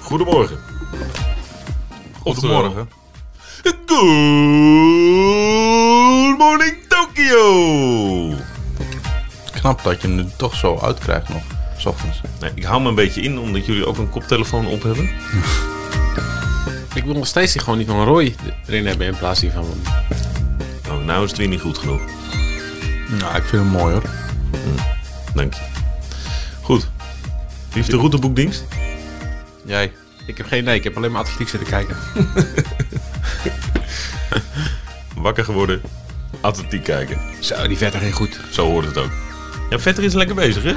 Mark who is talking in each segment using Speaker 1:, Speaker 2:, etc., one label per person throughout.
Speaker 1: Goedemorgen. Oftewel,
Speaker 2: Goedemorgen.
Speaker 1: Good morning Tokyo.
Speaker 2: Knap dat je hem nu toch zo uitkrijgt nog, s ochtends.
Speaker 1: Nee, ik hou me een beetje in omdat jullie ook een koptelefoon op hebben.
Speaker 3: Ik wil nog steeds die gewoon die van Roy erin hebben in plaats die van...
Speaker 1: Nou, nou is het weer niet goed genoeg.
Speaker 2: Nou, ik vind hem mooi hoor.
Speaker 1: Dank je. Goed. Wie heeft de routeboekdienst?
Speaker 2: Jij.
Speaker 3: Ik heb geen idee, ik heb alleen maar atletiek zitten kijken.
Speaker 1: Wakker geworden. Atletiek kijken.
Speaker 3: Zo, die verder ging goed.
Speaker 1: Zo hoort het ook. Ja, Vetter is lekker bezig, hè?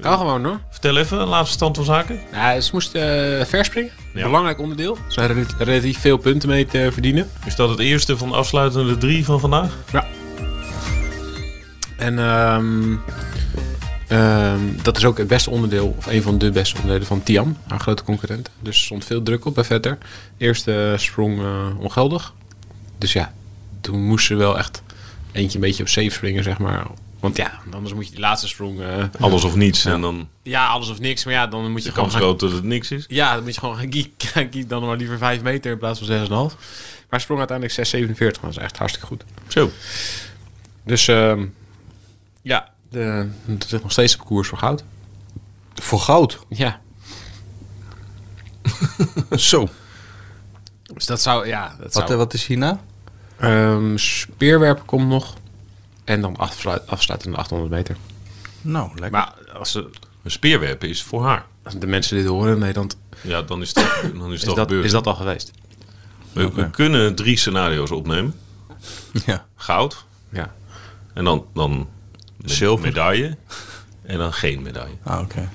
Speaker 3: Kan gewoon hoor.
Speaker 1: Vertel even, laatste stand van zaken.
Speaker 3: Nou, ze moest eh, verspringen.
Speaker 1: Ja.
Speaker 3: Belangrijk onderdeel. Ze hadden relatief- relatief veel punten mee te verdienen.
Speaker 1: Is dat het eerste van de afsluitende drie van vandaag?
Speaker 3: Ja. En ehm, ehm, dat is ook het beste onderdeel, of een van de beste onderdelen van Tiam, haar grote concurrent. Dus er stond veel druk op bij Vetter. Eerste sprong eh, ongeldig. Dus ja, toen moest ze wel echt eentje een beetje op safe springen, zeg maar. Want ja, anders moet je die laatste sprong... eh,
Speaker 1: Alles of niets. En dan
Speaker 3: ja, alles of niks, maar ja, dan moet je
Speaker 1: de
Speaker 3: gewoon
Speaker 1: kans
Speaker 3: gaan
Speaker 1: groot dat het niks is.
Speaker 3: ja, dan moet je gewoon gaan gie- gaan gie- dan maar liever 5 meter in plaats van 6,5. Maar sprong uiteindelijk 6,47. Dat is echt hartstikke goed.
Speaker 1: Zo.
Speaker 3: Dus ehm, ja, de, het ligt nog steeds op koers voor goud.
Speaker 2: Voor goud.
Speaker 3: Ja.
Speaker 2: zo.
Speaker 3: Dus dat zou, ja, dat
Speaker 2: Wat, eh,
Speaker 3: zou.
Speaker 2: wat is hierna?
Speaker 1: eh,
Speaker 3: Ehm, speerwerpen komt nog. En dan afsluit, afsluitende 800 meter.
Speaker 2: Nou, lekker.
Speaker 3: Maar als, ze,
Speaker 1: Een speerwerpen is voor haar.
Speaker 3: als de mensen dit horen in Nederland,
Speaker 1: Ja, dan is dat, dan is
Speaker 3: is
Speaker 1: dat,
Speaker 3: dat,
Speaker 1: gebeurd.
Speaker 3: is dat al geweest.
Speaker 1: We, we kunnen drie scenario's opnemen.
Speaker 2: Ja.
Speaker 1: Goud.
Speaker 3: Ja.
Speaker 1: En dan, dan met-
Speaker 2: Zilver.
Speaker 1: medaille. En dan geen medaille.
Speaker 2: Ah, oké.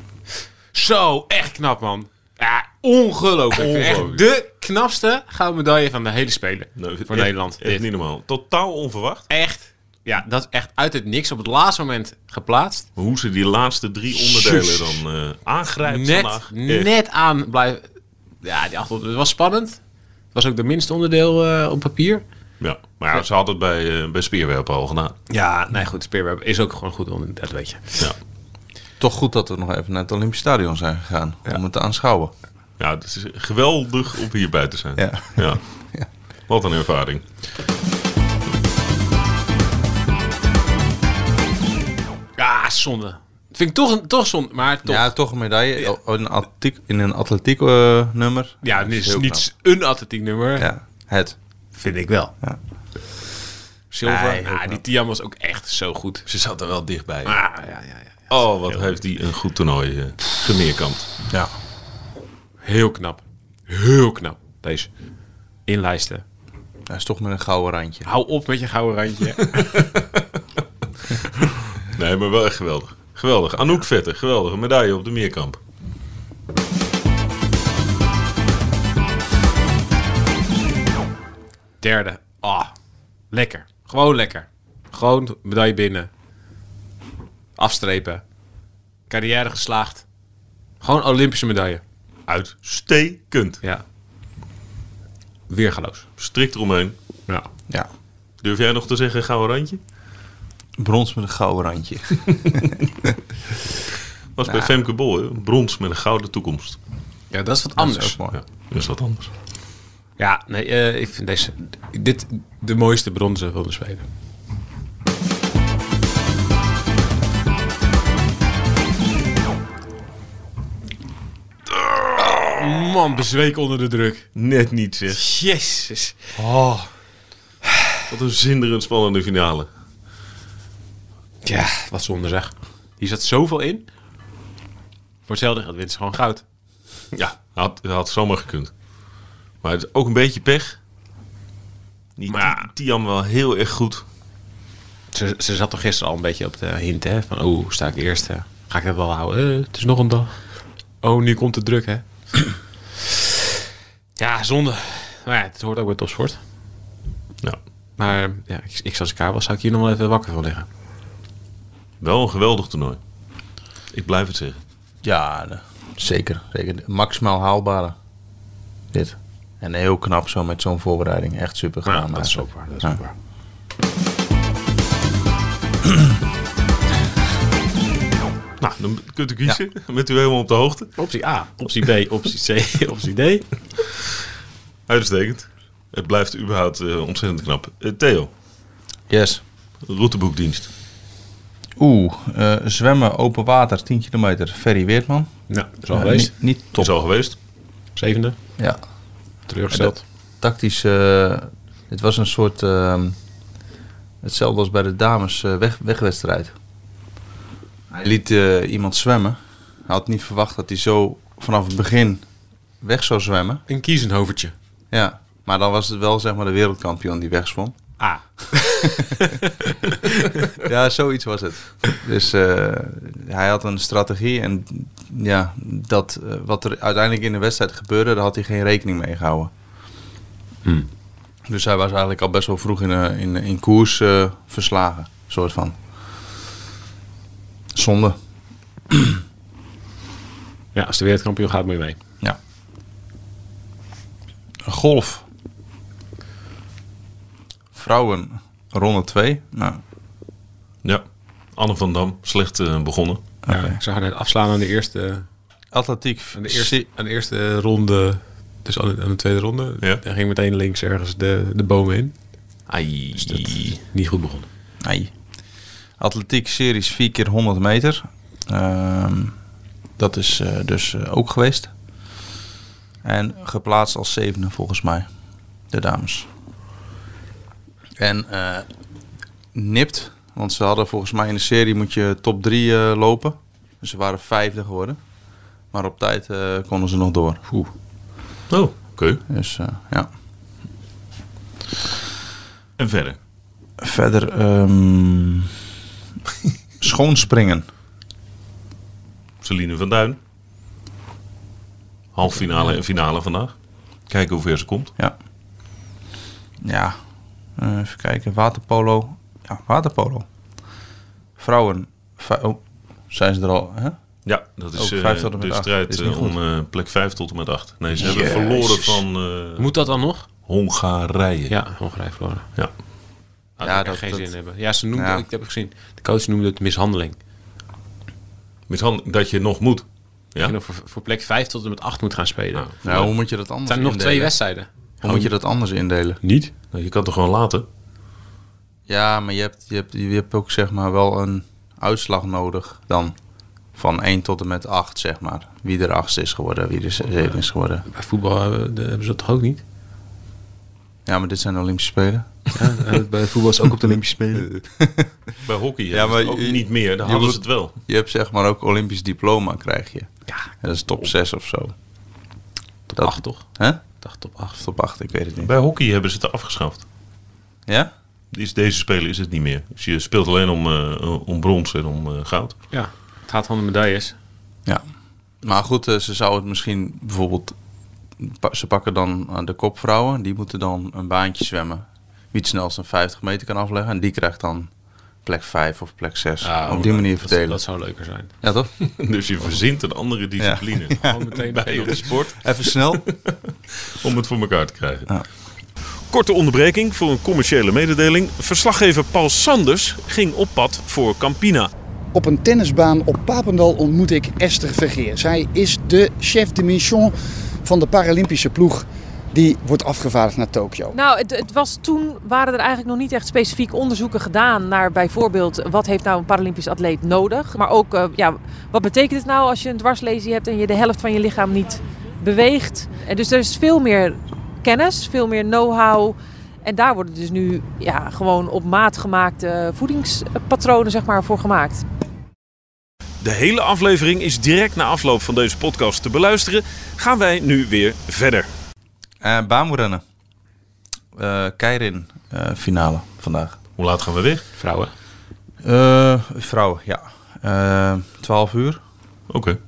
Speaker 3: Zo, echt knap man. Ja, ongelooflijk. Echt
Speaker 1: Ongelooflijk.
Speaker 3: de knapste gouden medaille van de hele Spelen.
Speaker 1: Nee,
Speaker 3: voor
Speaker 1: echt-
Speaker 3: Nederland.
Speaker 1: Nou, e- Echt
Speaker 3: Dit.
Speaker 1: niet normaal. Totaal onverwacht.
Speaker 3: echt, ja, dat is echt uit het niks op het laatste moment geplaatst.
Speaker 1: Maar Hoe ze die laatste drie onderdelen dan eh aangrijpt
Speaker 3: Net,
Speaker 1: vandaag. Echt.
Speaker 3: net aan blijven. Ja, die achterhoede het was spannend. Het was ook de minste onderdeel eh, op papier.
Speaker 1: Ja. Maar ja, ze had het bij, eh, bij speerwerpen al gedaan.
Speaker 3: Ja, nee, goed. Speerwerp is ook gewoon goed onder, dat weet je.
Speaker 1: Ja.
Speaker 2: Toch goed dat we nog even naar het Olympisch Stadion zijn gegaan. Om het te aanschouwen.
Speaker 1: Ja, het is geweldig om hierbij te zijn.
Speaker 2: Ja.
Speaker 1: Ja.
Speaker 2: Ja.
Speaker 1: Wat een ervaring.
Speaker 3: Ja, zonde. Vind ik toch, een- toch zonde, maar toch.
Speaker 2: Ja,
Speaker 3: Ja,
Speaker 2: toch een medaille. Oh, In een atletiek, in een atletiek eh, nummer.
Speaker 3: dit
Speaker 2: Dat
Speaker 3: is
Speaker 2: heel
Speaker 3: niet een atletiek nummer.
Speaker 2: knap. Ja, het.
Speaker 3: Vind ik wel.
Speaker 2: Ja.
Speaker 3: Zilver.
Speaker 1: Nee, heel
Speaker 3: ah, die Tiam was ook echt zo goed.
Speaker 1: Ze zat er wel dichtbij.
Speaker 3: Ah, ja, ja, ja.
Speaker 1: Oh, wat heeft die een goed toernooi eh gemeerkampt.
Speaker 2: Ja.
Speaker 3: Heel knap. Heel knap. Deze. Inlijsten.
Speaker 2: Hij is toch met een gouden randje.
Speaker 3: Hou op met je gouden randje.
Speaker 1: Nee, maar wel echt geweldig. Geweldig. Anouk Vetter, geweldige medaille op de meerkamp.
Speaker 3: Derde. Ah, lekker. Gewoon lekker. Gewoon medaille binnen. Afstrepen. Carrière geslaagd. Gewoon Olympische medaille.
Speaker 1: Uitstekend.
Speaker 3: Ja. Weergaloos.
Speaker 1: Strikt eromheen.
Speaker 3: Ja.
Speaker 2: Ja.
Speaker 1: Durf jij nog te zeggen gouden randje?
Speaker 2: Brons met een gouden randje.
Speaker 1: Was bij Femke Bol, hè? brons met een gouden toekomst.
Speaker 3: Ja, dat is wat
Speaker 2: Dat
Speaker 3: anders.
Speaker 2: is ook mooi.
Speaker 1: Ja, dat is wat anders.
Speaker 3: Ja, nee, eh, ik vind deze, dit de mooiste bronzen van de Zweden. Man, bezweek onder de druk.
Speaker 1: Net niet zeg.
Speaker 3: Jezus.
Speaker 1: Wat een zinderend spannende finale.
Speaker 3: Ja, wat zonde zeg. Hier zat zoveel in. Voor hetzelfde geld wint ze gewoon goud.
Speaker 1: Ja, had, had zomaar gekund. Maar het is ook een beetje pech. Die
Speaker 3: Maar-
Speaker 1: Ti- Tiam wel heel erg goed.
Speaker 3: Ze, ze zat toch gisteren al een beetje op de hint, hè? Van, oh, sta ik eerst? eh? Ga ik dat wel houden? Eh, het is nog een dag. Oh, nu komt de druk, hè? ja, zonde. Maar ja, het hoort ook bij topsport.
Speaker 1: Ja.
Speaker 3: Maar ja, ik, ik als ik haar was, zou ik hier nog wel even wakker van liggen.
Speaker 1: Wel een geweldig toernooi. Ik blijf het zeggen.
Speaker 2: Ja, de- zeker. zeker. De Maximaal haalbare. Dit. En heel knap zo met zo'n voorbereiding. Echt super gedaan.
Speaker 1: dat is
Speaker 2: eigenlijk.
Speaker 1: ook waar,
Speaker 3: Dat is
Speaker 2: Ja.
Speaker 3: ook waar.
Speaker 1: Nou, dan kunt u kiezen. Bent u helemaal op de hoogte.
Speaker 3: Optie A.
Speaker 1: Optie B, optie C, optie D. Uitstekend. Het blijft überhaupt eh, ontzettend knap. Eh, Theo,
Speaker 2: Yes.
Speaker 1: routeboekdienst.
Speaker 2: Oeh, eh, zwemmen, open water, 10 kilometer. Ferry Weertman.
Speaker 3: Nou, dat is al
Speaker 2: Eh,
Speaker 3: geweest.
Speaker 2: niet, niet top.
Speaker 1: Is al geweest.
Speaker 3: Zevende.
Speaker 2: Ja.
Speaker 3: Teleurgesteld.
Speaker 2: Tactisch. eh, het was een soort. ehm, hetzelfde als bij de dames eh, weg, wegwedstrijd. Hij liet eh, iemand zwemmen. Hij had niet verwacht dat hij zo vanaf het begin weg zou zwemmen.
Speaker 3: Een kiezenhovertje.
Speaker 2: Ja, maar dan was het wel zeg maar de wereldkampioen die wegzwom.
Speaker 3: A.
Speaker 2: Ja, zoiets was het. Dus eh, hij had een strategie en ja, dat, eh, wat er uiteindelijk in de wedstrijd gebeurde, daar had hij geen rekening mee gehouden. Dus hij was eigenlijk al best wel vroeg in, eh, in, in koers eh, verslagen, soort van. Zonde.
Speaker 3: Ja, als de wereldkampioen gaat, moet je mee.
Speaker 2: Ja. Golf. Vrouwen, ronde 2. Nou,
Speaker 1: Ja. Anne van Dam, slecht eh, begonnen.
Speaker 2: oké.
Speaker 3: Ik zag haar net afslaan aan de eerste,
Speaker 2: Atletiek.
Speaker 3: aan de eerste, aan de eerste ronde. Dus aan de, aan de tweede ronde.
Speaker 1: Ja.
Speaker 3: En ging meteen links ergens de, de bomen in. Dus
Speaker 1: Ai.
Speaker 3: Niet goed begonnen.
Speaker 2: Nee. Atletiek Series 4 keer 100 meter. Ehm, dat is eh, dus eh, ook geweest. En geplaatst als zevende volgens mij. De dames. En eh, nipt. Want ze hadden volgens mij in de serie moet je top 3 lopen. Dus ze waren vijfde geworden. Maar op tijd eh, konden ze nog door.
Speaker 1: Oh, oké.
Speaker 2: Dus eh, ja.
Speaker 1: En verder.
Speaker 2: Verder. ehm schoonspringen.
Speaker 1: Celine van Duin. Half finale en finale vandaag. Kijken hoe ver ze komt.
Speaker 2: Ja. Ja. Eh, even kijken. Waterpolo. Ja, waterpolo. Vrouwen. Vij- oh, zijn ze er al? Hè?
Speaker 1: Ja, dat is
Speaker 2: Ook
Speaker 1: eh,
Speaker 2: vijf tot en met
Speaker 1: de
Speaker 2: acht.
Speaker 1: strijd
Speaker 2: Is niet
Speaker 1: eh, om
Speaker 2: goed.
Speaker 1: eh, plek 5 tot en met 8. Nee, ze
Speaker 2: Jezus.
Speaker 1: hebben verloren van eh,
Speaker 3: Moet dat dan nog?
Speaker 1: Hongarije.
Speaker 3: Ja, Hongarije verloren.
Speaker 1: Ja.
Speaker 3: ja,
Speaker 2: dat-
Speaker 3: dat geen
Speaker 2: dat-
Speaker 3: zin in hebben. Ja, ze noemde,
Speaker 2: Ja.
Speaker 3: ik heb het gezien. De coach noemde het mishandeling.
Speaker 1: Met hand, dat je nog moet.
Speaker 3: Ja?
Speaker 1: Ja?
Speaker 3: En of voor, voor plek 5 tot en met 8 moet gaan spelen. Het
Speaker 2: Nou, hoe moet je dat anders
Speaker 3: zijn nog
Speaker 2: indelen?
Speaker 3: twee wedstrijden.
Speaker 2: Hoe moet je dat anders indelen?
Speaker 3: Niet?
Speaker 1: Nou, je kan toch gewoon laten?
Speaker 2: Ja, maar je hebt, je, hebt, je hebt ook zeg maar wel een uitslag nodig dan. Van 1 tot en met 8, zeg maar. Wie er 8 is geworden, wie er 7 is geworden.
Speaker 3: Bij voetbal hebben, de- hebben ze dat toch ook niet?
Speaker 2: Ja, maar dit zijn de Olympische Spelen.
Speaker 3: bij voetbal is ook op de Olympische Spelen.
Speaker 1: Bij hockey ja,
Speaker 2: Ja,
Speaker 1: maar,
Speaker 2: maar
Speaker 1: ook
Speaker 2: je-
Speaker 1: niet meer. Daar
Speaker 2: je
Speaker 1: hadden ze
Speaker 2: moet-
Speaker 1: het wel.
Speaker 2: Je hebt zeg maar ook Olympisch diploma, krijg je. Ja. En dat is top 6 of zo.
Speaker 3: Top
Speaker 2: Dat-
Speaker 3: 8 toch?
Speaker 2: Hè?
Speaker 3: Ik dacht top 8.
Speaker 2: Of top 8, ik weet het niet.
Speaker 1: Bij hockey hebben ze het afgeschaft.
Speaker 2: Ja?
Speaker 1: Is deze spelen is het niet meer. Dus je speelt alleen om, eh, om brons en om eh, goud.
Speaker 3: Ja, het gaat om de medailles.
Speaker 2: Ja. Maar goed, eh, ze zou het misschien bijvoorbeeld... pa- Ze pakken dan eh, de kopvrouwen. Die moeten dan een baantje zwemmen. Wie het snelst een 50 meter kan afleggen. En die krijgt dan plek 5 of plek 6. Op die manier verdelen.
Speaker 3: Dat, dat zou leuker zijn.
Speaker 2: Ja, toch?
Speaker 1: Dus je verzint een andere discipline
Speaker 3: Gewoon meteen
Speaker 1: bij de sport
Speaker 2: Even snel.
Speaker 1: om het voor elkaar te krijgen.
Speaker 4: Korte onderbreking voor een commerciële mededeling. Verslaggever Paul Sanders ging op pad voor Campina.
Speaker 5: Op een tennisbaan op Papendal ontmoet ik Esther Vergeer. Zij is de chef de mission van de Paralympische ploeg die wordt afgevaardigd naar Tokio.
Speaker 6: Nou, het, het was toen waren er eigenlijk nog niet echt specifiek onderzoeken gedaan naar bijvoorbeeld wat heeft nou een Paralympisch atleet nodig. Maar ook, eh, ja, wat betekent het nou als je een dwarslesie hebt en je de helft van je lichaam niet beweegt. En dus er is veel meer kennis, veel meer know-how. En daar worden dus nu ja, gewoon op maat gemaakte voedingspatronen zeg maar, voor gemaakt.
Speaker 4: De hele aflevering is direct na afloop van deze podcast te beluisteren. Gaan wij nu weer verder.
Speaker 2: Eh baanrennen. Eh Keirin eh, finale vandaag.
Speaker 1: Hoe laat gaan we weg?
Speaker 3: Vrouwen.
Speaker 2: Eh vrouwen, ja. Eh 12 uur.
Speaker 1: Oké,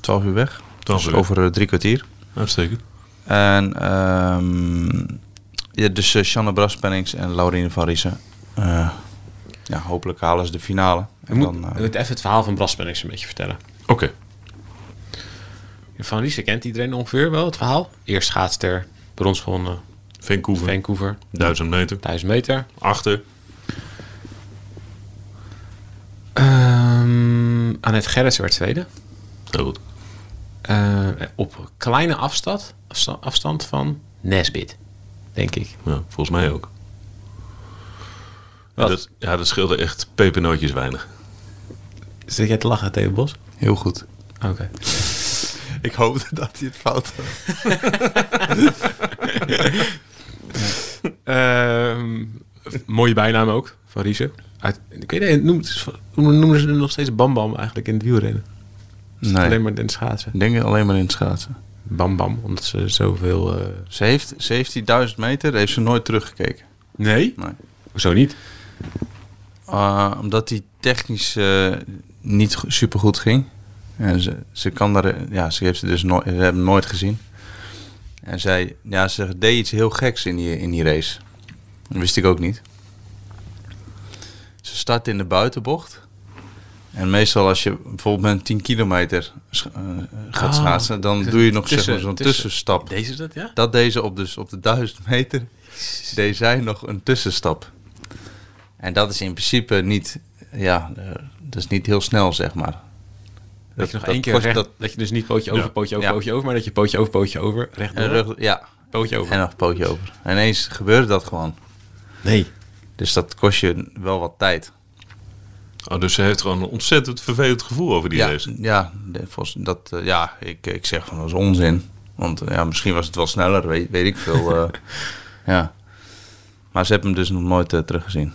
Speaker 2: 12 uur weg.
Speaker 1: 12 Dan
Speaker 2: Dus
Speaker 1: weer.
Speaker 2: over eh, drie kwartier.
Speaker 1: Uitstekend.
Speaker 2: En ehm, ja, dus eh, Shanna Braspennings en Laurine van Riesen. Eh, ja, hopelijk halen ze de finale. En
Speaker 3: moet,
Speaker 2: dan, eh,
Speaker 3: ik moet even het verhaal van Braspennings een beetje vertellen.
Speaker 1: Oké.
Speaker 3: Van Riesen kent iedereen ongeveer wel het verhaal. Eerst schaatster, brons gewonnen,
Speaker 1: Vancouver.
Speaker 3: Vancouver,
Speaker 1: 1000 meter.
Speaker 3: 1000 meter.
Speaker 1: Achter.
Speaker 3: Ehm Annette Gerritsen werd tweede.
Speaker 1: Heel goed.
Speaker 3: Eh, op kleine afstand, afsta- afstand van Nesbit, denk ik.
Speaker 1: Ja, volgens mij ook. Ja,
Speaker 3: Wat?
Speaker 1: dat, ja, dat scheelde echt pepernootjes weinig.
Speaker 3: Zit jij te lachen, Theo Bos?
Speaker 2: Heel goed.
Speaker 3: Oké.
Speaker 2: Ik hoopte dat hij het fout had.
Speaker 3: Ehm, mooie bijnaam ook, van Riesen. Uit, ik weet niet, noemt, noemen ze hem nog steeds Bam Bam eigenlijk in het wielrennen?
Speaker 2: Nee,
Speaker 3: Alleen maar in het schaatsen.
Speaker 2: ik denk alleen maar in het schaatsen.
Speaker 3: Bam Bam, omdat ze zoveel... eh,
Speaker 2: Ze heeft, ze heeft die 1000 meter, heeft ze nooit teruggekeken.
Speaker 3: Nee?
Speaker 2: Nee.
Speaker 3: Hoezo niet?
Speaker 2: Eh, omdat die technisch eh, niet go- supergoed ging. En ze, ze kan daar, ja, ze heeft ze dus nooit, ze hebben hem nooit gezien. En zij, ja, ze deed iets heel geks in die, in die race. Dat wist ik ook niet. Ze start in de buitenbocht. En meestal als je bijvoorbeeld met een 10 kilometer sch- eh, gaat
Speaker 3: Oh.
Speaker 2: schaatsen, dan doe je nog zeg
Speaker 3: Tussen-
Speaker 2: maar, zo'n
Speaker 3: tussen.
Speaker 2: tussenstap.
Speaker 3: Deze dat, ja?
Speaker 2: Dat deze op, dus op de 1000 meter deed zij nog een tussenstap. En dat is in principe niet, ja, eh, dat is niet heel snel, zeg maar.
Speaker 3: Dat je nog
Speaker 2: dat
Speaker 3: één keer
Speaker 2: kost-
Speaker 3: recht,
Speaker 2: dat-
Speaker 3: dat, je dus niet pootje over,
Speaker 1: Ja.
Speaker 3: pootje over,
Speaker 2: Ja.
Speaker 3: pootje over, maar dat je pootje over, pootje over,
Speaker 2: En
Speaker 3: rechtdoor,
Speaker 2: rug, ja,
Speaker 3: pootje over.
Speaker 2: en nog een pootje over. En ineens gebeurde dat gewoon.
Speaker 3: Nee.
Speaker 2: Dus dat kost je wel wat tijd.
Speaker 1: Oh, dus ze heeft gewoon een ontzettend vervelend gevoel over die
Speaker 2: ja,
Speaker 1: race.
Speaker 2: ja, de- volgens- dat, eh, ja ik, ik zeg van dat is onzin. Want eh, ja, misschien was het wel sneller, weet, weet ik veel. eh, ja. Maar ze hebben hem dus nog nooit eh, teruggezien.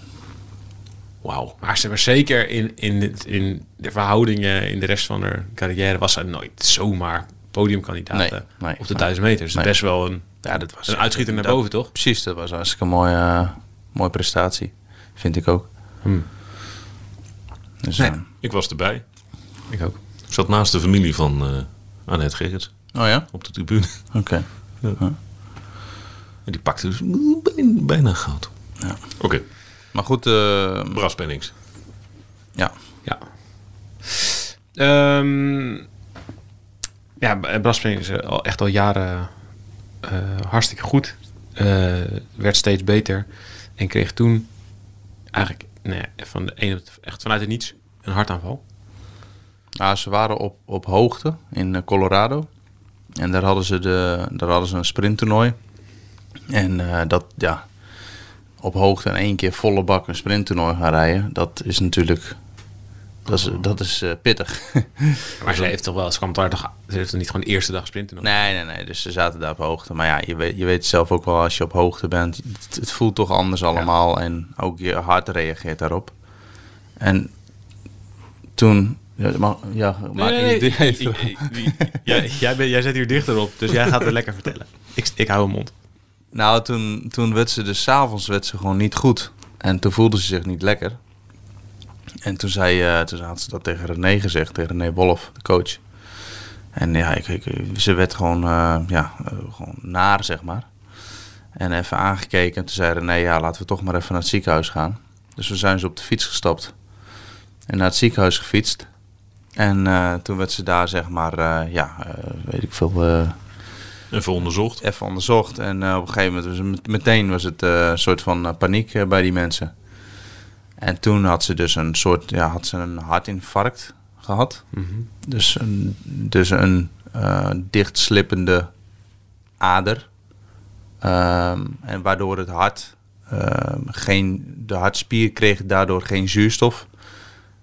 Speaker 3: Wauw. Maar ze was zeker in, in, het- in de verhoudingen in de rest van haar carrière was ze nooit zomaar podiumkandidaat
Speaker 2: Nee,
Speaker 3: eh,
Speaker 2: nee,
Speaker 3: op de
Speaker 2: nee.
Speaker 3: 1000 meter. Dus
Speaker 2: Nee.
Speaker 3: best wel een,
Speaker 2: Ja, dat was
Speaker 3: een uitschieter naar
Speaker 2: dat-
Speaker 3: boven, toch?
Speaker 2: Precies, dat was hartstikke een mooie, eh, mooie prestatie. Vind ik ook. Dus, eh,
Speaker 1: Ik was erbij.
Speaker 3: Ik ook.
Speaker 1: Ik zat naast de familie van eh Annette Gerrits
Speaker 2: oh ja?
Speaker 1: op de tribune.
Speaker 2: Oké.
Speaker 1: En die pakte dus bijna, bijna goud. Oké,
Speaker 2: Maar goed, eh,
Speaker 1: Bras Pennings.
Speaker 2: ja.
Speaker 3: Ja. Ehm ja, Braspring is eh, al echt al jaren eh, hartstikke goed. Eh, werd steeds beter. En kreeg toen eigenlijk nou ja, van de ene, echt vanuit het niets een hartaanval.
Speaker 2: Nou, ze waren op, op hoogte in eh, Colorado. En daar hadden ze, de, daar hadden ze een sprinttoernooi. En eh, dat, ja, op hoogte in één keer volle bak een sprinttoernooi gaan rijden. Dat is natuurlijk, dat is, dat is eh, pittig.
Speaker 3: Maar ze heeft toch wel, ze kwam daar toch, ze heeft toch niet gewoon de eerste dag sprinten? nog?
Speaker 2: Nee, nee, nee. Dus ze zaten daar op hoogte. Maar ja, je weet, je weet zelf ook wel als je op hoogte bent. Het, het voelt toch anders allemaal. En ook je hart reageert daarop. En toen... Ja, mag, ja, maak
Speaker 3: Nee,
Speaker 2: ik
Speaker 3: nee,
Speaker 2: die-
Speaker 3: nee, ik- ik- ik- jij, jij, bent- jij zit hier dichter op, dus jij gaat het lekker vertellen. Ik, ik hou mijn mond.
Speaker 2: Nou, toen, toen werd ze dus... 's avonds werd ze gewoon niet goed. En toen voelde ze zich niet lekker. En toen, zei, eh, toen had ze dat tegen René gezegd. Tegen René Wolf, de coach. En ja, ik, ik- ze werd gewoon, eh, ja, eh, gewoon naar, zeg maar. En even aangekeken. En toen zei René, ja, laten we toch maar even naar het ziekenhuis gaan. Dus we zijn ze op de fiets gestapt. En naar het ziekenhuis gefietst. En eh, toen werd ze daar, zeg maar, eh, ja, eh, weet ik veel, eh,
Speaker 1: Even onderzocht.
Speaker 2: even onderzocht. En eh, op een gegeven moment was het met- meteen was het eh, een soort van eh, paniek eh, bij die mensen. En toen had ze dus een soort, ja, had ze een hartinfarct gehad. Dus een, dus een eh, dichtslippende ader. Ehm, en waardoor het hart, ehm, geen, de hartspier kreeg daardoor geen zuurstof.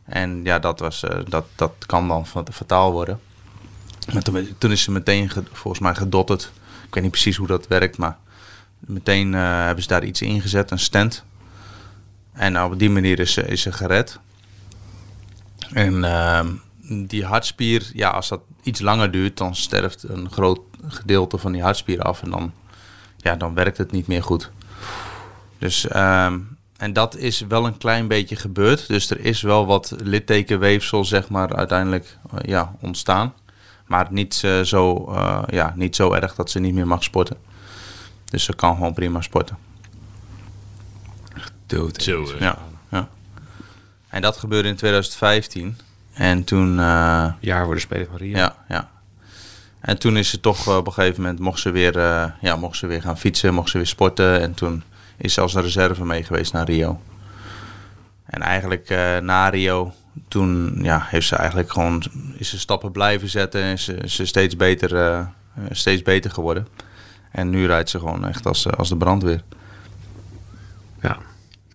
Speaker 2: En ja, dat, was, eh, dat, dat kan dan fa- fataal worden. Maar toen, toen is ze meteen ge- volgens mij gedotterd. Ik weet niet precies hoe dat werkt, maar meteen eh, hebben ze daar iets ingezet, een stand. En nou, op die manier is ze, is ze gered. En ehm, die hartspier, ja, als dat iets langer duurt, dan sterft een groot gedeelte van die hartspier af. En dan, ja, dan werkt het niet meer goed. Dus, ehm, en dat is wel een klein beetje gebeurd. Dus er is wel wat littekenweefsel, zeg maar, uiteindelijk eh, ja, ontstaan. Maar niet, eh, zo, eh, ja, niet zo erg dat ze niet meer mag sporten. Dus ze kan gewoon prima sporten.
Speaker 3: Dood.
Speaker 4: Zo,
Speaker 1: Dus
Speaker 4: eh.
Speaker 2: Ja, ja. En dat gebeurde in 2015. En toen... eh,
Speaker 3: Jaar worden speler van Rio.
Speaker 2: Ja, ja. En toen is ze toch eh, op een gegeven moment mocht ze weer, eh, ja, mocht ze weer gaan fietsen, mocht ze weer sporten. En toen is ze als een reserve mee geweest naar Rio. En eigenlijk eh, na Rio, toen ja, heeft ze eigenlijk gewoon is ze stappen blijven zetten en is ze, is ze steeds, beter, eh, eh, steeds beter geworden. En nu rijdt ze gewoon echt als, eh, als de brandweer.
Speaker 3: Ja.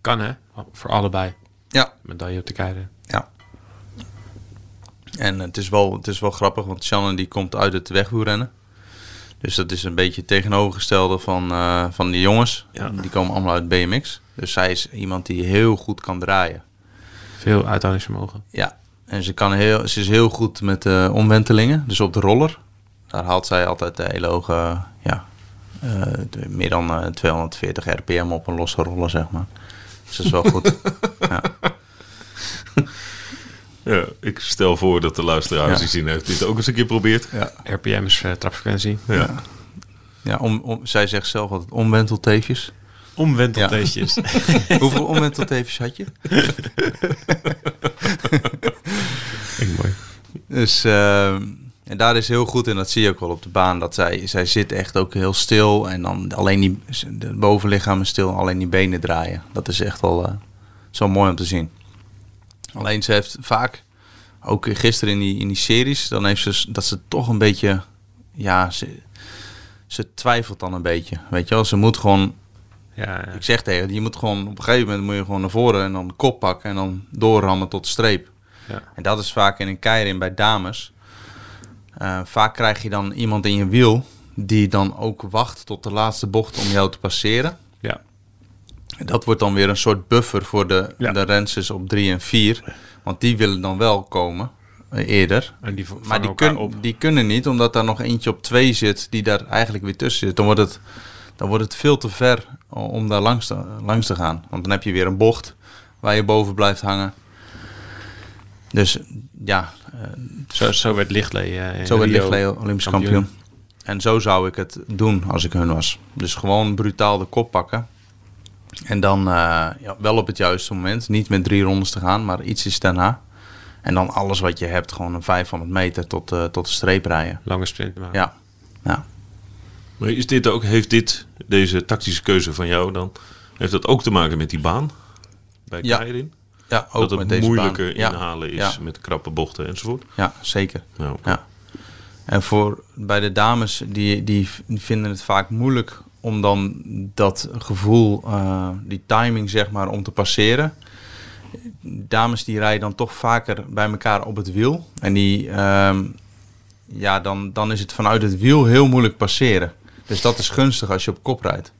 Speaker 3: Kan hè? Voor allebei.
Speaker 2: Ja,
Speaker 3: Medaille op de keider.
Speaker 2: Ja. En het is wel, het is wel grappig, want Shannon die komt uit het wegwielrennen. Dus dat is een beetje het tegenovergestelde van, eh, van die jongens. Die komen allemaal uit BMX. Dus zij is iemand die heel goed kan draaien.
Speaker 3: Veel uithoudingsvermogen.
Speaker 2: Ja. En ze, kan heel, ze is heel goed met eh, omwentelingen. Dus op de roller. Daar haalt zij altijd de hele hoge, ja, eh, de- meer dan eh, 240 rpm op een losse roller, zeg maar. Dus dat is wel goed.
Speaker 4: Ja, ik stel voor dat de luisteraars die zien heeft dit ook eens een keer probeert.
Speaker 3: RPM is eh, trapfrequentie.
Speaker 4: Ja.
Speaker 2: Ja, om, om, zij zegt zelf altijd omwentelteefjes.
Speaker 7: Omwentelteestjes.
Speaker 2: Hoeveel omwenteltevens had je?
Speaker 3: mooi.
Speaker 2: Dus ehm, en daar is heel goed in, dat zie je ook wel op de baan, dat zij, zij zit echt ook heel stil en dan alleen die de bovenlichaam is stil, alleen die benen draaien. Dat is echt wel eh, zo mooi om te zien. Alleen ze heeft vaak, ook gisteren in die, in die series, dan heeft ze s- dat ze toch een beetje, ja, ze, ze twijfelt dan een beetje. Weet je wel, ze moet gewoon
Speaker 3: Ja, ja.
Speaker 2: ik zeg tegen je, je moet gewoon op een gegeven moment moet je gewoon naar voren en dan de kop pakken en dan doorrammen tot de streep.
Speaker 3: Ja.
Speaker 2: En dat is vaak in een keirin bij dames. Eh, vaak krijg je dan iemand in je wiel die dan ook wacht tot de laatste bocht om jou te passeren.
Speaker 3: Ja.
Speaker 2: En Dat wordt dan weer een soort buffer voor de,
Speaker 3: Ja.
Speaker 2: de renses op 3 en 4. Want die willen dan wel komen eh, eerder.
Speaker 3: En die v- vangen
Speaker 2: Maar die,
Speaker 3: elkaar
Speaker 2: kun-
Speaker 3: op.
Speaker 2: die kunnen niet, omdat daar nog eentje op twee zit die daar eigenlijk weer tussen zit. Dan wordt het, dan wordt het veel te ver o- om daar langs te, langs te gaan. Want dan heb je weer een bocht waar je boven blijft hangen. Dus ja, eh,
Speaker 3: Zo, zo werd Lichtley. eh, in
Speaker 2: zo werd
Speaker 3: Rio
Speaker 2: Lichtley Olympisch kampioen. En zo zou ik het doen als ik hun was. Dus gewoon brutaal de kop pakken. En dan eh, ja, wel op het juiste moment. Niet met drie rondes te gaan, maar ietsjes daarna. En dan alles wat je hebt, gewoon een 500 meter tot, eh, tot de streep rijden.
Speaker 3: Lange sprint maken.
Speaker 2: Ja. ja.
Speaker 4: Maar is dit ook, heeft dit, deze tactische keuze van jou dan, heeft dat ook te maken met die baan? Bij
Speaker 2: Ja,
Speaker 4: Keirin?
Speaker 2: Ja, ook
Speaker 4: Dat
Speaker 2: met
Speaker 4: het
Speaker 2: deze
Speaker 4: moeilijker
Speaker 2: baan.
Speaker 4: inhalen
Speaker 2: ja,
Speaker 4: is met krappe bochten enzovoort?
Speaker 2: Ja, ja, zeker.
Speaker 4: Ja, oké.
Speaker 2: Ja. En voor, bij de dames, die, die v- vinden het vaak moeilijk om dan dat gevoel, eh, die timing zeg maar, om te passeren. Dames die rijden dan toch vaker bij elkaar op het wiel. En die, ehm, ja, dan, dan is het vanuit het wiel heel moeilijk passeren. Dus dat is gunstig als je op kop rijdt.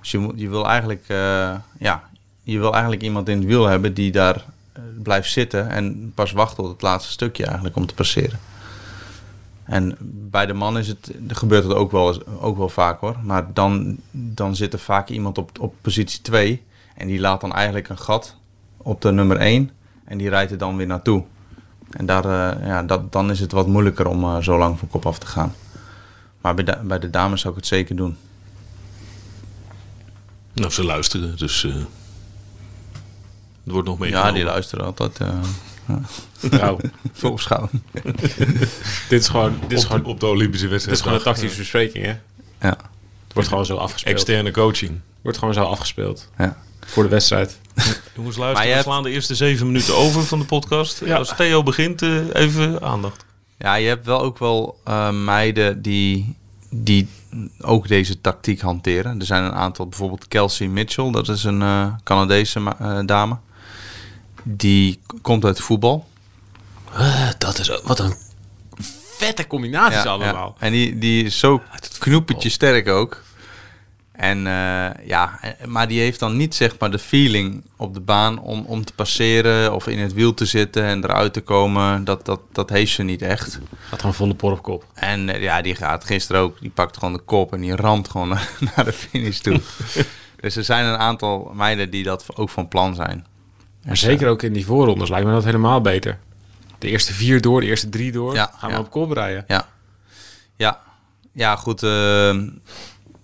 Speaker 2: Dus je, moet- je, wil eigenlijk, eh, ja, je wil eigenlijk iemand in het wiel hebben die daar eh, blijft zitten en pas wacht tot het laatste stukje eigenlijk om te passeren. En bij de man is het, er gebeurt het ook wel, eens- ook wel vaak hoor. Maar dan, dan zit er vaak iemand op, op positie 2 en die laat dan eigenlijk een gat op de nummer 1 en die rijdt er dan weer naartoe. En daar, eh, ja, dat, dan is het wat moeilijker om eh, zo lang van kop af te gaan. Maar bij de, bij de dames zou ik het zeker doen.
Speaker 4: Nou, ze luisteren, dus eh, het wordt nog meegenomen.
Speaker 2: Ja, die luisteren altijd. eh
Speaker 3: Nou,
Speaker 2: voor opschouwen.
Speaker 3: dit is gewoon, dit is gewoon,
Speaker 4: op de Olympische
Speaker 3: dit is
Speaker 4: wedstrijd.
Speaker 3: gewoon een tactische bespreking, hè?
Speaker 2: Ja.
Speaker 3: Het wordt gewoon zo afgespeeld.
Speaker 4: Externe coaching.
Speaker 3: Wordt gewoon zo afgespeeld.
Speaker 2: Ja.
Speaker 3: Voor de wedstrijd.
Speaker 4: Jongens,
Speaker 2: Maar
Speaker 4: luister,
Speaker 2: je
Speaker 4: we
Speaker 2: hebt-
Speaker 4: slaan de eerste zeven minuten over van de podcast. Als Theo begint, eh, even aandacht.
Speaker 2: ja, je hebt wel ook wel eh, meiden die, die ook deze tactiek hanteren. Er zijn een aantal, bijvoorbeeld Kelsey Mitchell, dat is een eh, Canadese ma- eh, dame. Die k- komt uit voetbal.
Speaker 3: dat is wat een vette combinaties allemaal.
Speaker 2: En die, die is zo knoepetje sterk ook. En eh, ja, en- maar die heeft dan niet zeg maar de feeling op de baan om, om te passeren of in het wiel te zitten en eruit te komen. Dat, dat, dat heeft ze niet echt.
Speaker 3: Had gewoon volle por op kop.
Speaker 2: En eh, ja, die gaat gisteren ook, die pakt gewoon de kop en die ramt gewoon naar, naar de finish toe. dus er zijn een aantal meiden die dat ook van plan zijn.
Speaker 3: Maar zeker ook in die voorrondes lijkt me dat helemaal beter. de eerste vier door, de eerste drie door.
Speaker 2: Ja,
Speaker 3: gaan
Speaker 2: ja.
Speaker 3: we op kop rijden.
Speaker 2: Ja. Ja, ja goed. eh,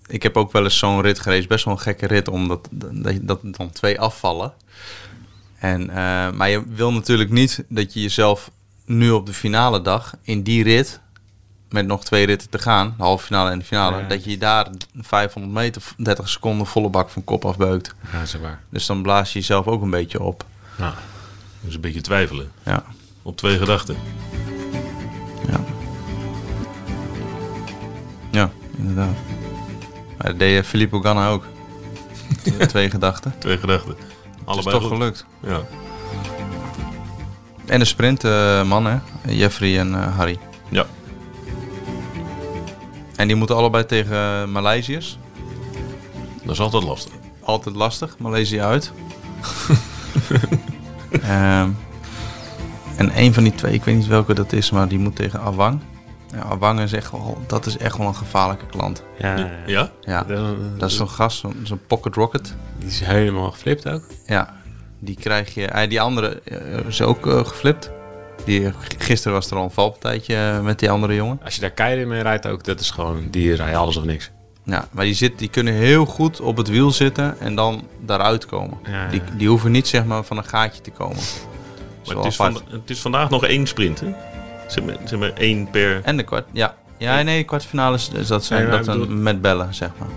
Speaker 2: ik heb ook wel eens zo'n rit gereden. Best wel een gekke rit, omdat dat, dat dan twee afvallen. En, eh, maar je wil natuurlijk niet dat je jezelf nu op de finale dag in die rit met nog twee ritten te gaan, de halve finale en de finale,
Speaker 3: Ja.
Speaker 2: dat je daar 500 meter, 30 seconden volle bak van kop afbeukt.
Speaker 3: Ja, dat is waar.
Speaker 2: Dus dan blaas je jezelf ook een beetje op.
Speaker 3: Nou.
Speaker 1: Dus een beetje twijfelen.
Speaker 2: Ja.
Speaker 1: Op twee gedachten.
Speaker 2: Ja. Ja, inderdaad. Maar dat deed eh, Filippo Ganna ook. Twee gedachten.
Speaker 1: Twee gedachten.
Speaker 2: Het is
Speaker 1: Allebei
Speaker 2: toch
Speaker 1: goed.
Speaker 2: gelukt.
Speaker 1: Ja.
Speaker 2: En de sprintman, hè? Jeffrey en eh, Harry.
Speaker 1: Ja.
Speaker 2: En die moeten allebei tegen eh, Maleisiërs.
Speaker 1: Dat is altijd lastig.
Speaker 2: Altijd lastig, Maleisië uit. Ehm, en een van die twee, ik weet niet welke dat is, maar die moet tegen Awang. Ja, Awang is echt wel, dat is echt wel een gevaarlijke klant.
Speaker 3: Ja, ja.
Speaker 1: Ja?
Speaker 2: Ja,
Speaker 3: Dan-
Speaker 2: dat is zo'n gast, zo'n zo'n pocket rocket.
Speaker 3: Die is helemaal geflipt ook.
Speaker 2: Ja, die krijg je. eh, die andere eh, is ook eh, geflipt. Die, eh, gisteren was er al een valpartijtje eh, met die andere jongen.
Speaker 3: Als je daar keihard mee rijdt ook, dat is gewoon, die rij je alles of niks.
Speaker 2: Ja, maar die, zit, die kunnen heel goed op het wiel zitten en dan daaruit komen.
Speaker 3: Ja, ja.
Speaker 2: Die, die hoeven niet zeg maar van een gaatje te komen.
Speaker 1: Maar
Speaker 2: Zo
Speaker 1: het is,
Speaker 2: apart.
Speaker 1: vanda- het is vandaag nog één sprint, hè? Zeg maar, zeg maar één per...
Speaker 2: En de kwart. Ja, ja nee, de kwartfinale is is dat, zijn,
Speaker 3: Nee, maar
Speaker 2: dat
Speaker 3: ik
Speaker 2: een-
Speaker 3: bedoel-
Speaker 2: met bellen, zeg maar.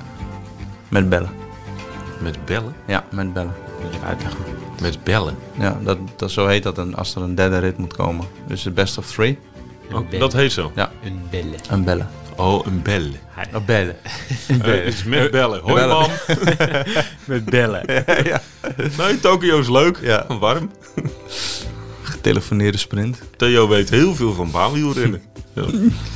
Speaker 2: Met bellen.
Speaker 1: Met bellen?
Speaker 2: Ja, met bellen.
Speaker 1: Met bellen?
Speaker 2: Ja, dat, dat, zo heet dat een, als er een derde rit moet komen. Dus de best of three,
Speaker 1: Oh, dat heet zo.
Speaker 3: Een bellen.
Speaker 2: een bellen.
Speaker 1: Oh, een bellen.
Speaker 2: Een bellen.
Speaker 1: Eh, het is met bellen. Hoi
Speaker 2: bellen.
Speaker 1: mam.
Speaker 3: Met bellen.
Speaker 1: Nee, Tokio is leuk.
Speaker 2: Ja.
Speaker 1: Warm.
Speaker 2: Getelefoneerde sprint.
Speaker 1: Theo weet heel veel van baanwielrennen. Ja.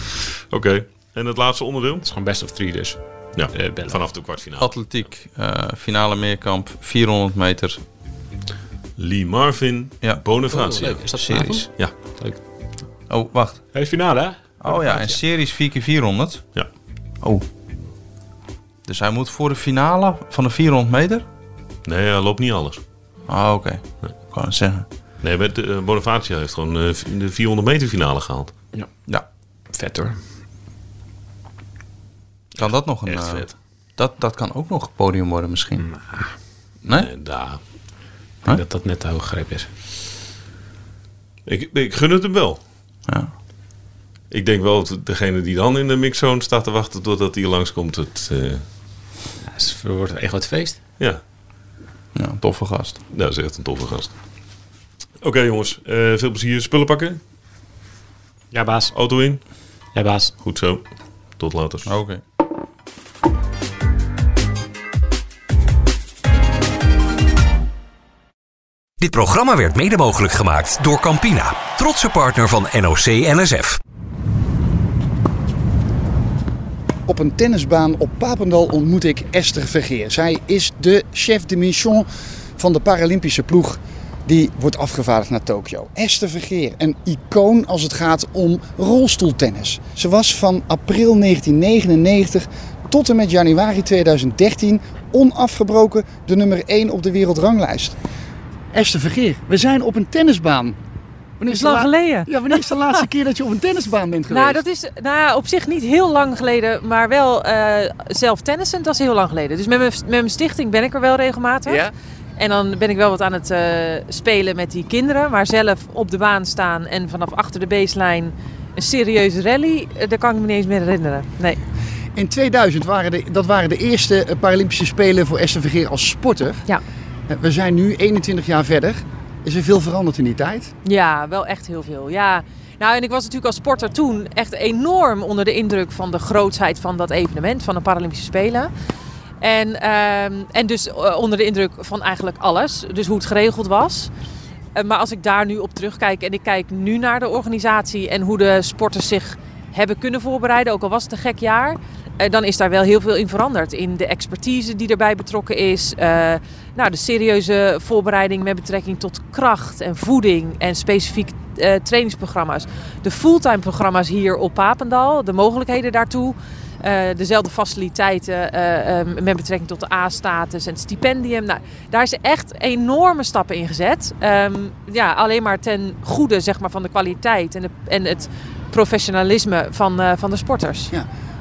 Speaker 1: Oké. En het laatste onderdeel?
Speaker 3: Het is gewoon best of three dus.
Speaker 1: Ja,
Speaker 3: Eh, bellen.
Speaker 1: vanaf de kwartfinale.
Speaker 2: Atletiek, eh, finale meerkamp, 400 meter
Speaker 1: Lee Marvin,
Speaker 2: Ja.
Speaker 1: Bonifacio.
Speaker 3: Is dat
Speaker 2: series.
Speaker 1: Ja.
Speaker 2: Oh, wacht.
Speaker 3: Hey, finale hè?
Speaker 2: Oh ja, een series 4x400.
Speaker 1: Ja.
Speaker 2: Oh. Dus hij moet voor de finale van de 400 meter?
Speaker 1: Nee, hij loopt niet alles.
Speaker 2: Ah, oké. Ik kan het zeggen.
Speaker 1: Nee, met, eh, Bonifacio heeft gewoon eh, v- de 400 meter finale gehaald.
Speaker 2: Ja.
Speaker 3: Vet hoor.
Speaker 2: Kan dat nog een...
Speaker 3: Echt
Speaker 2: eh,
Speaker 3: vet.
Speaker 2: dat, dat kan ook nog een podium worden misschien. Nee?
Speaker 1: En daar.
Speaker 3: Ik denk dat dat net de hoge greep is.
Speaker 1: Ik, ik gun het hem wel.
Speaker 2: Ja.
Speaker 1: Ik denk wel dat degene die dan in de mixzone staat te wachten totdat hij langskomt. Het, eh,
Speaker 3: Ja, het wordt echt wat feest.
Speaker 1: ja, nou,
Speaker 2: Ja, een toffe gast.
Speaker 1: dat is echt een toffe gast. Oké jongens, eh, veel plezier. Spullen pakken,
Speaker 3: Ja baas.
Speaker 1: auto in.
Speaker 3: Ja baas.
Speaker 1: Goed zo. Tot later.
Speaker 2: Oké.
Speaker 8: Dit programma werd mede mogelijk gemaakt door Campina, trotse partner van NOC NSF.
Speaker 5: Op een tennisbaan op Papendal ontmoet ik Esther Vergeer. Zij is de chef de mission van de Paralympische ploeg die wordt afgevaardigd naar Tokio. Esther Vergeer, een icoon als het gaat om rolstoeltennis. Ze was van april 1999 tot en met januari 2013 onafgebroken de nummer 1 op de wereldranglijst. Esther Vergeer, we zijn op een tennisbaan. Wanneer
Speaker 6: is lang geleden.
Speaker 5: Ja, wanneer is de laatste keer dat je op een tennisbaan bent geweest?
Speaker 6: Nou, dat is nou, ja, op zich niet heel lang geleden, maar wel eh, zelf tennissen, dat is heel lang geleden. Dus met mijn, met mijn stichting ben ik er wel regelmatig.
Speaker 5: Ja?
Speaker 6: En dan ben ik wel wat aan het eh, spelen met die kinderen. Maar zelf op de baan staan en vanaf achter de baseline een serieuze rally, eh, daar kan ik me niet eens meer herinneren. Nee.
Speaker 5: In 2000 waren de, dat waren de eerste eh, Paralympische Spelen voor Esther Vergeer als sporter.
Speaker 6: Ja.
Speaker 5: Eh, We zijn nu 21 jaar verder. Is er veel veranderd in die tijd?
Speaker 6: Ja, wel echt heel veel. Ja. Nou, en ik was natuurlijk als sporter toen echt enorm onder de indruk van de grootsheid van dat evenement, van de Paralympische Spelen. En, ehm, en dus eh, onder de indruk van eigenlijk alles, dus hoe het geregeld was. Eh, maar als ik daar nu op terugkijk en ik kijk nu naar de organisatie en hoe de sporters zich hebben kunnen voorbereiden, ook al was het een gek jaar, eh, dan is daar wel heel veel in veranderd. In de expertise die erbij betrokken is, eh, nou, de serieuze voorbereiding met betrekking tot kracht en voeding en specifiek eh, trainingsprogramma's. De fulltime programma's hier op Papendal, de mogelijkheden daartoe. Eh, eh, dezelfde faciliteiten eh, eh, met betrekking tot de A-status en het stipendium. Nou, daar is echt enorme stappen in gezet. Ehm, ja, alleen maar ten goede zeg maar, van de kwaliteit en, de, en het professionalisme van, eh, van de sporters.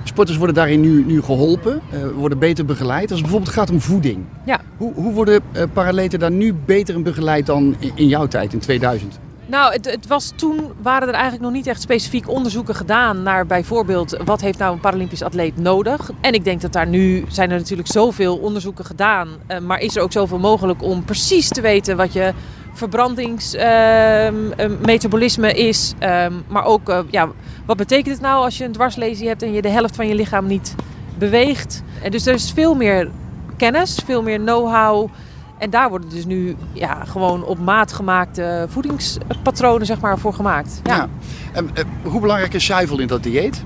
Speaker 5: Sporters worden daarin nu, nu geholpen, eh, worden beter begeleid. Als het bijvoorbeeld gaat om voeding.
Speaker 6: Ja.
Speaker 5: Hoe, hoe worden eh, paraleten daar nu beter in begeleid dan in, in jouw tijd, in 2000?
Speaker 6: Nou, het, het was toen waren er eigenlijk nog niet echt specifiek onderzoeken gedaan naar bijvoorbeeld wat heeft nou een Paralympisch atleet nodig. En ik denk dat daar nu zijn er natuurlijk zoveel onderzoeken gedaan, eh, maar is er ook zoveel mogelijk om precies te weten wat je verbrandingsmetabolisme ehm, is, ehm, maar ook eh, ja, wat betekent het nou als je een dwarslesie hebt en je de helft van je lichaam niet beweegt. En dus er is veel meer kennis, veel meer know-how. En daar worden dus nu ja, gewoon op maat gemaakte voedingspatronen zeg maar, voor gemaakt. Ja.
Speaker 5: En, eh, hoe belangrijk is zuivel in dat dieet?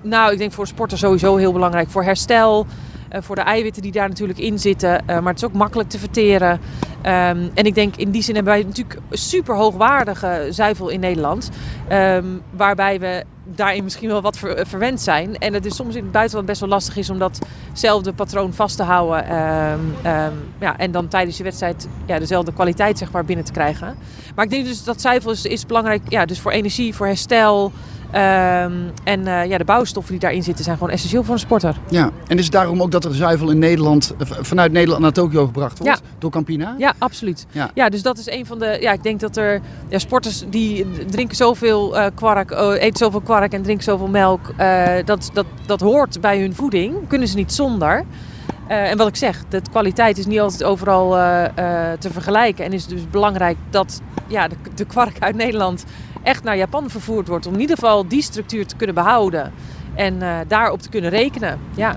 Speaker 6: Nou, ik denk voor sporters sowieso heel belangrijk. Voor herstel, eh, voor de eiwitten die daar natuurlijk in zitten. eh, maar het is ook makkelijk te verteren. Ehm, en ik denk in die zin hebben wij natuurlijk super hoogwaardige zuivel in Nederland. Ehm, waarbij we daarin misschien wel wat ver- eh, verwend zijn. En het is soms in het buitenland best wel lastig is om datzelfde patroon vast te houden. Ehm, ehm, ja, en dan tijdens je wedstrijd ja, dezelfde kwaliteit zeg maar, binnen te krijgen. Maar ik denk dus dat zuivel is, is belangrijk ja, dus voor energie, voor herstel. Ehm, en eh, ja, de bouwstoffen die daarin zitten zijn gewoon essentieel voor een sporter.
Speaker 5: Ja. En is het daarom ook dat er zuivel in Nederland, eh, v- vanuit Nederland naar Tokio gebracht wordt? Door Campina?
Speaker 6: Ja, absoluut.
Speaker 5: Ja.
Speaker 6: Ja. dus dat is een van de. Ja, ik denk dat er ja, sporters die drinken zoveel eh, kwark, eh, eten zoveel kwark en drinken zoveel melk. eh, dat, dat, dat hoort bij hun voeding. Kunnen ze niet zonder. Eh, en wat ik zeg, de kwaliteit is niet altijd overal eh, eh, te vergelijken. En is dus belangrijk dat ja, de, de kwark uit Nederland echt naar Japan vervoerd wordt. Om in ieder geval die structuur te kunnen behouden. En eh, daarop te kunnen rekenen. Ja.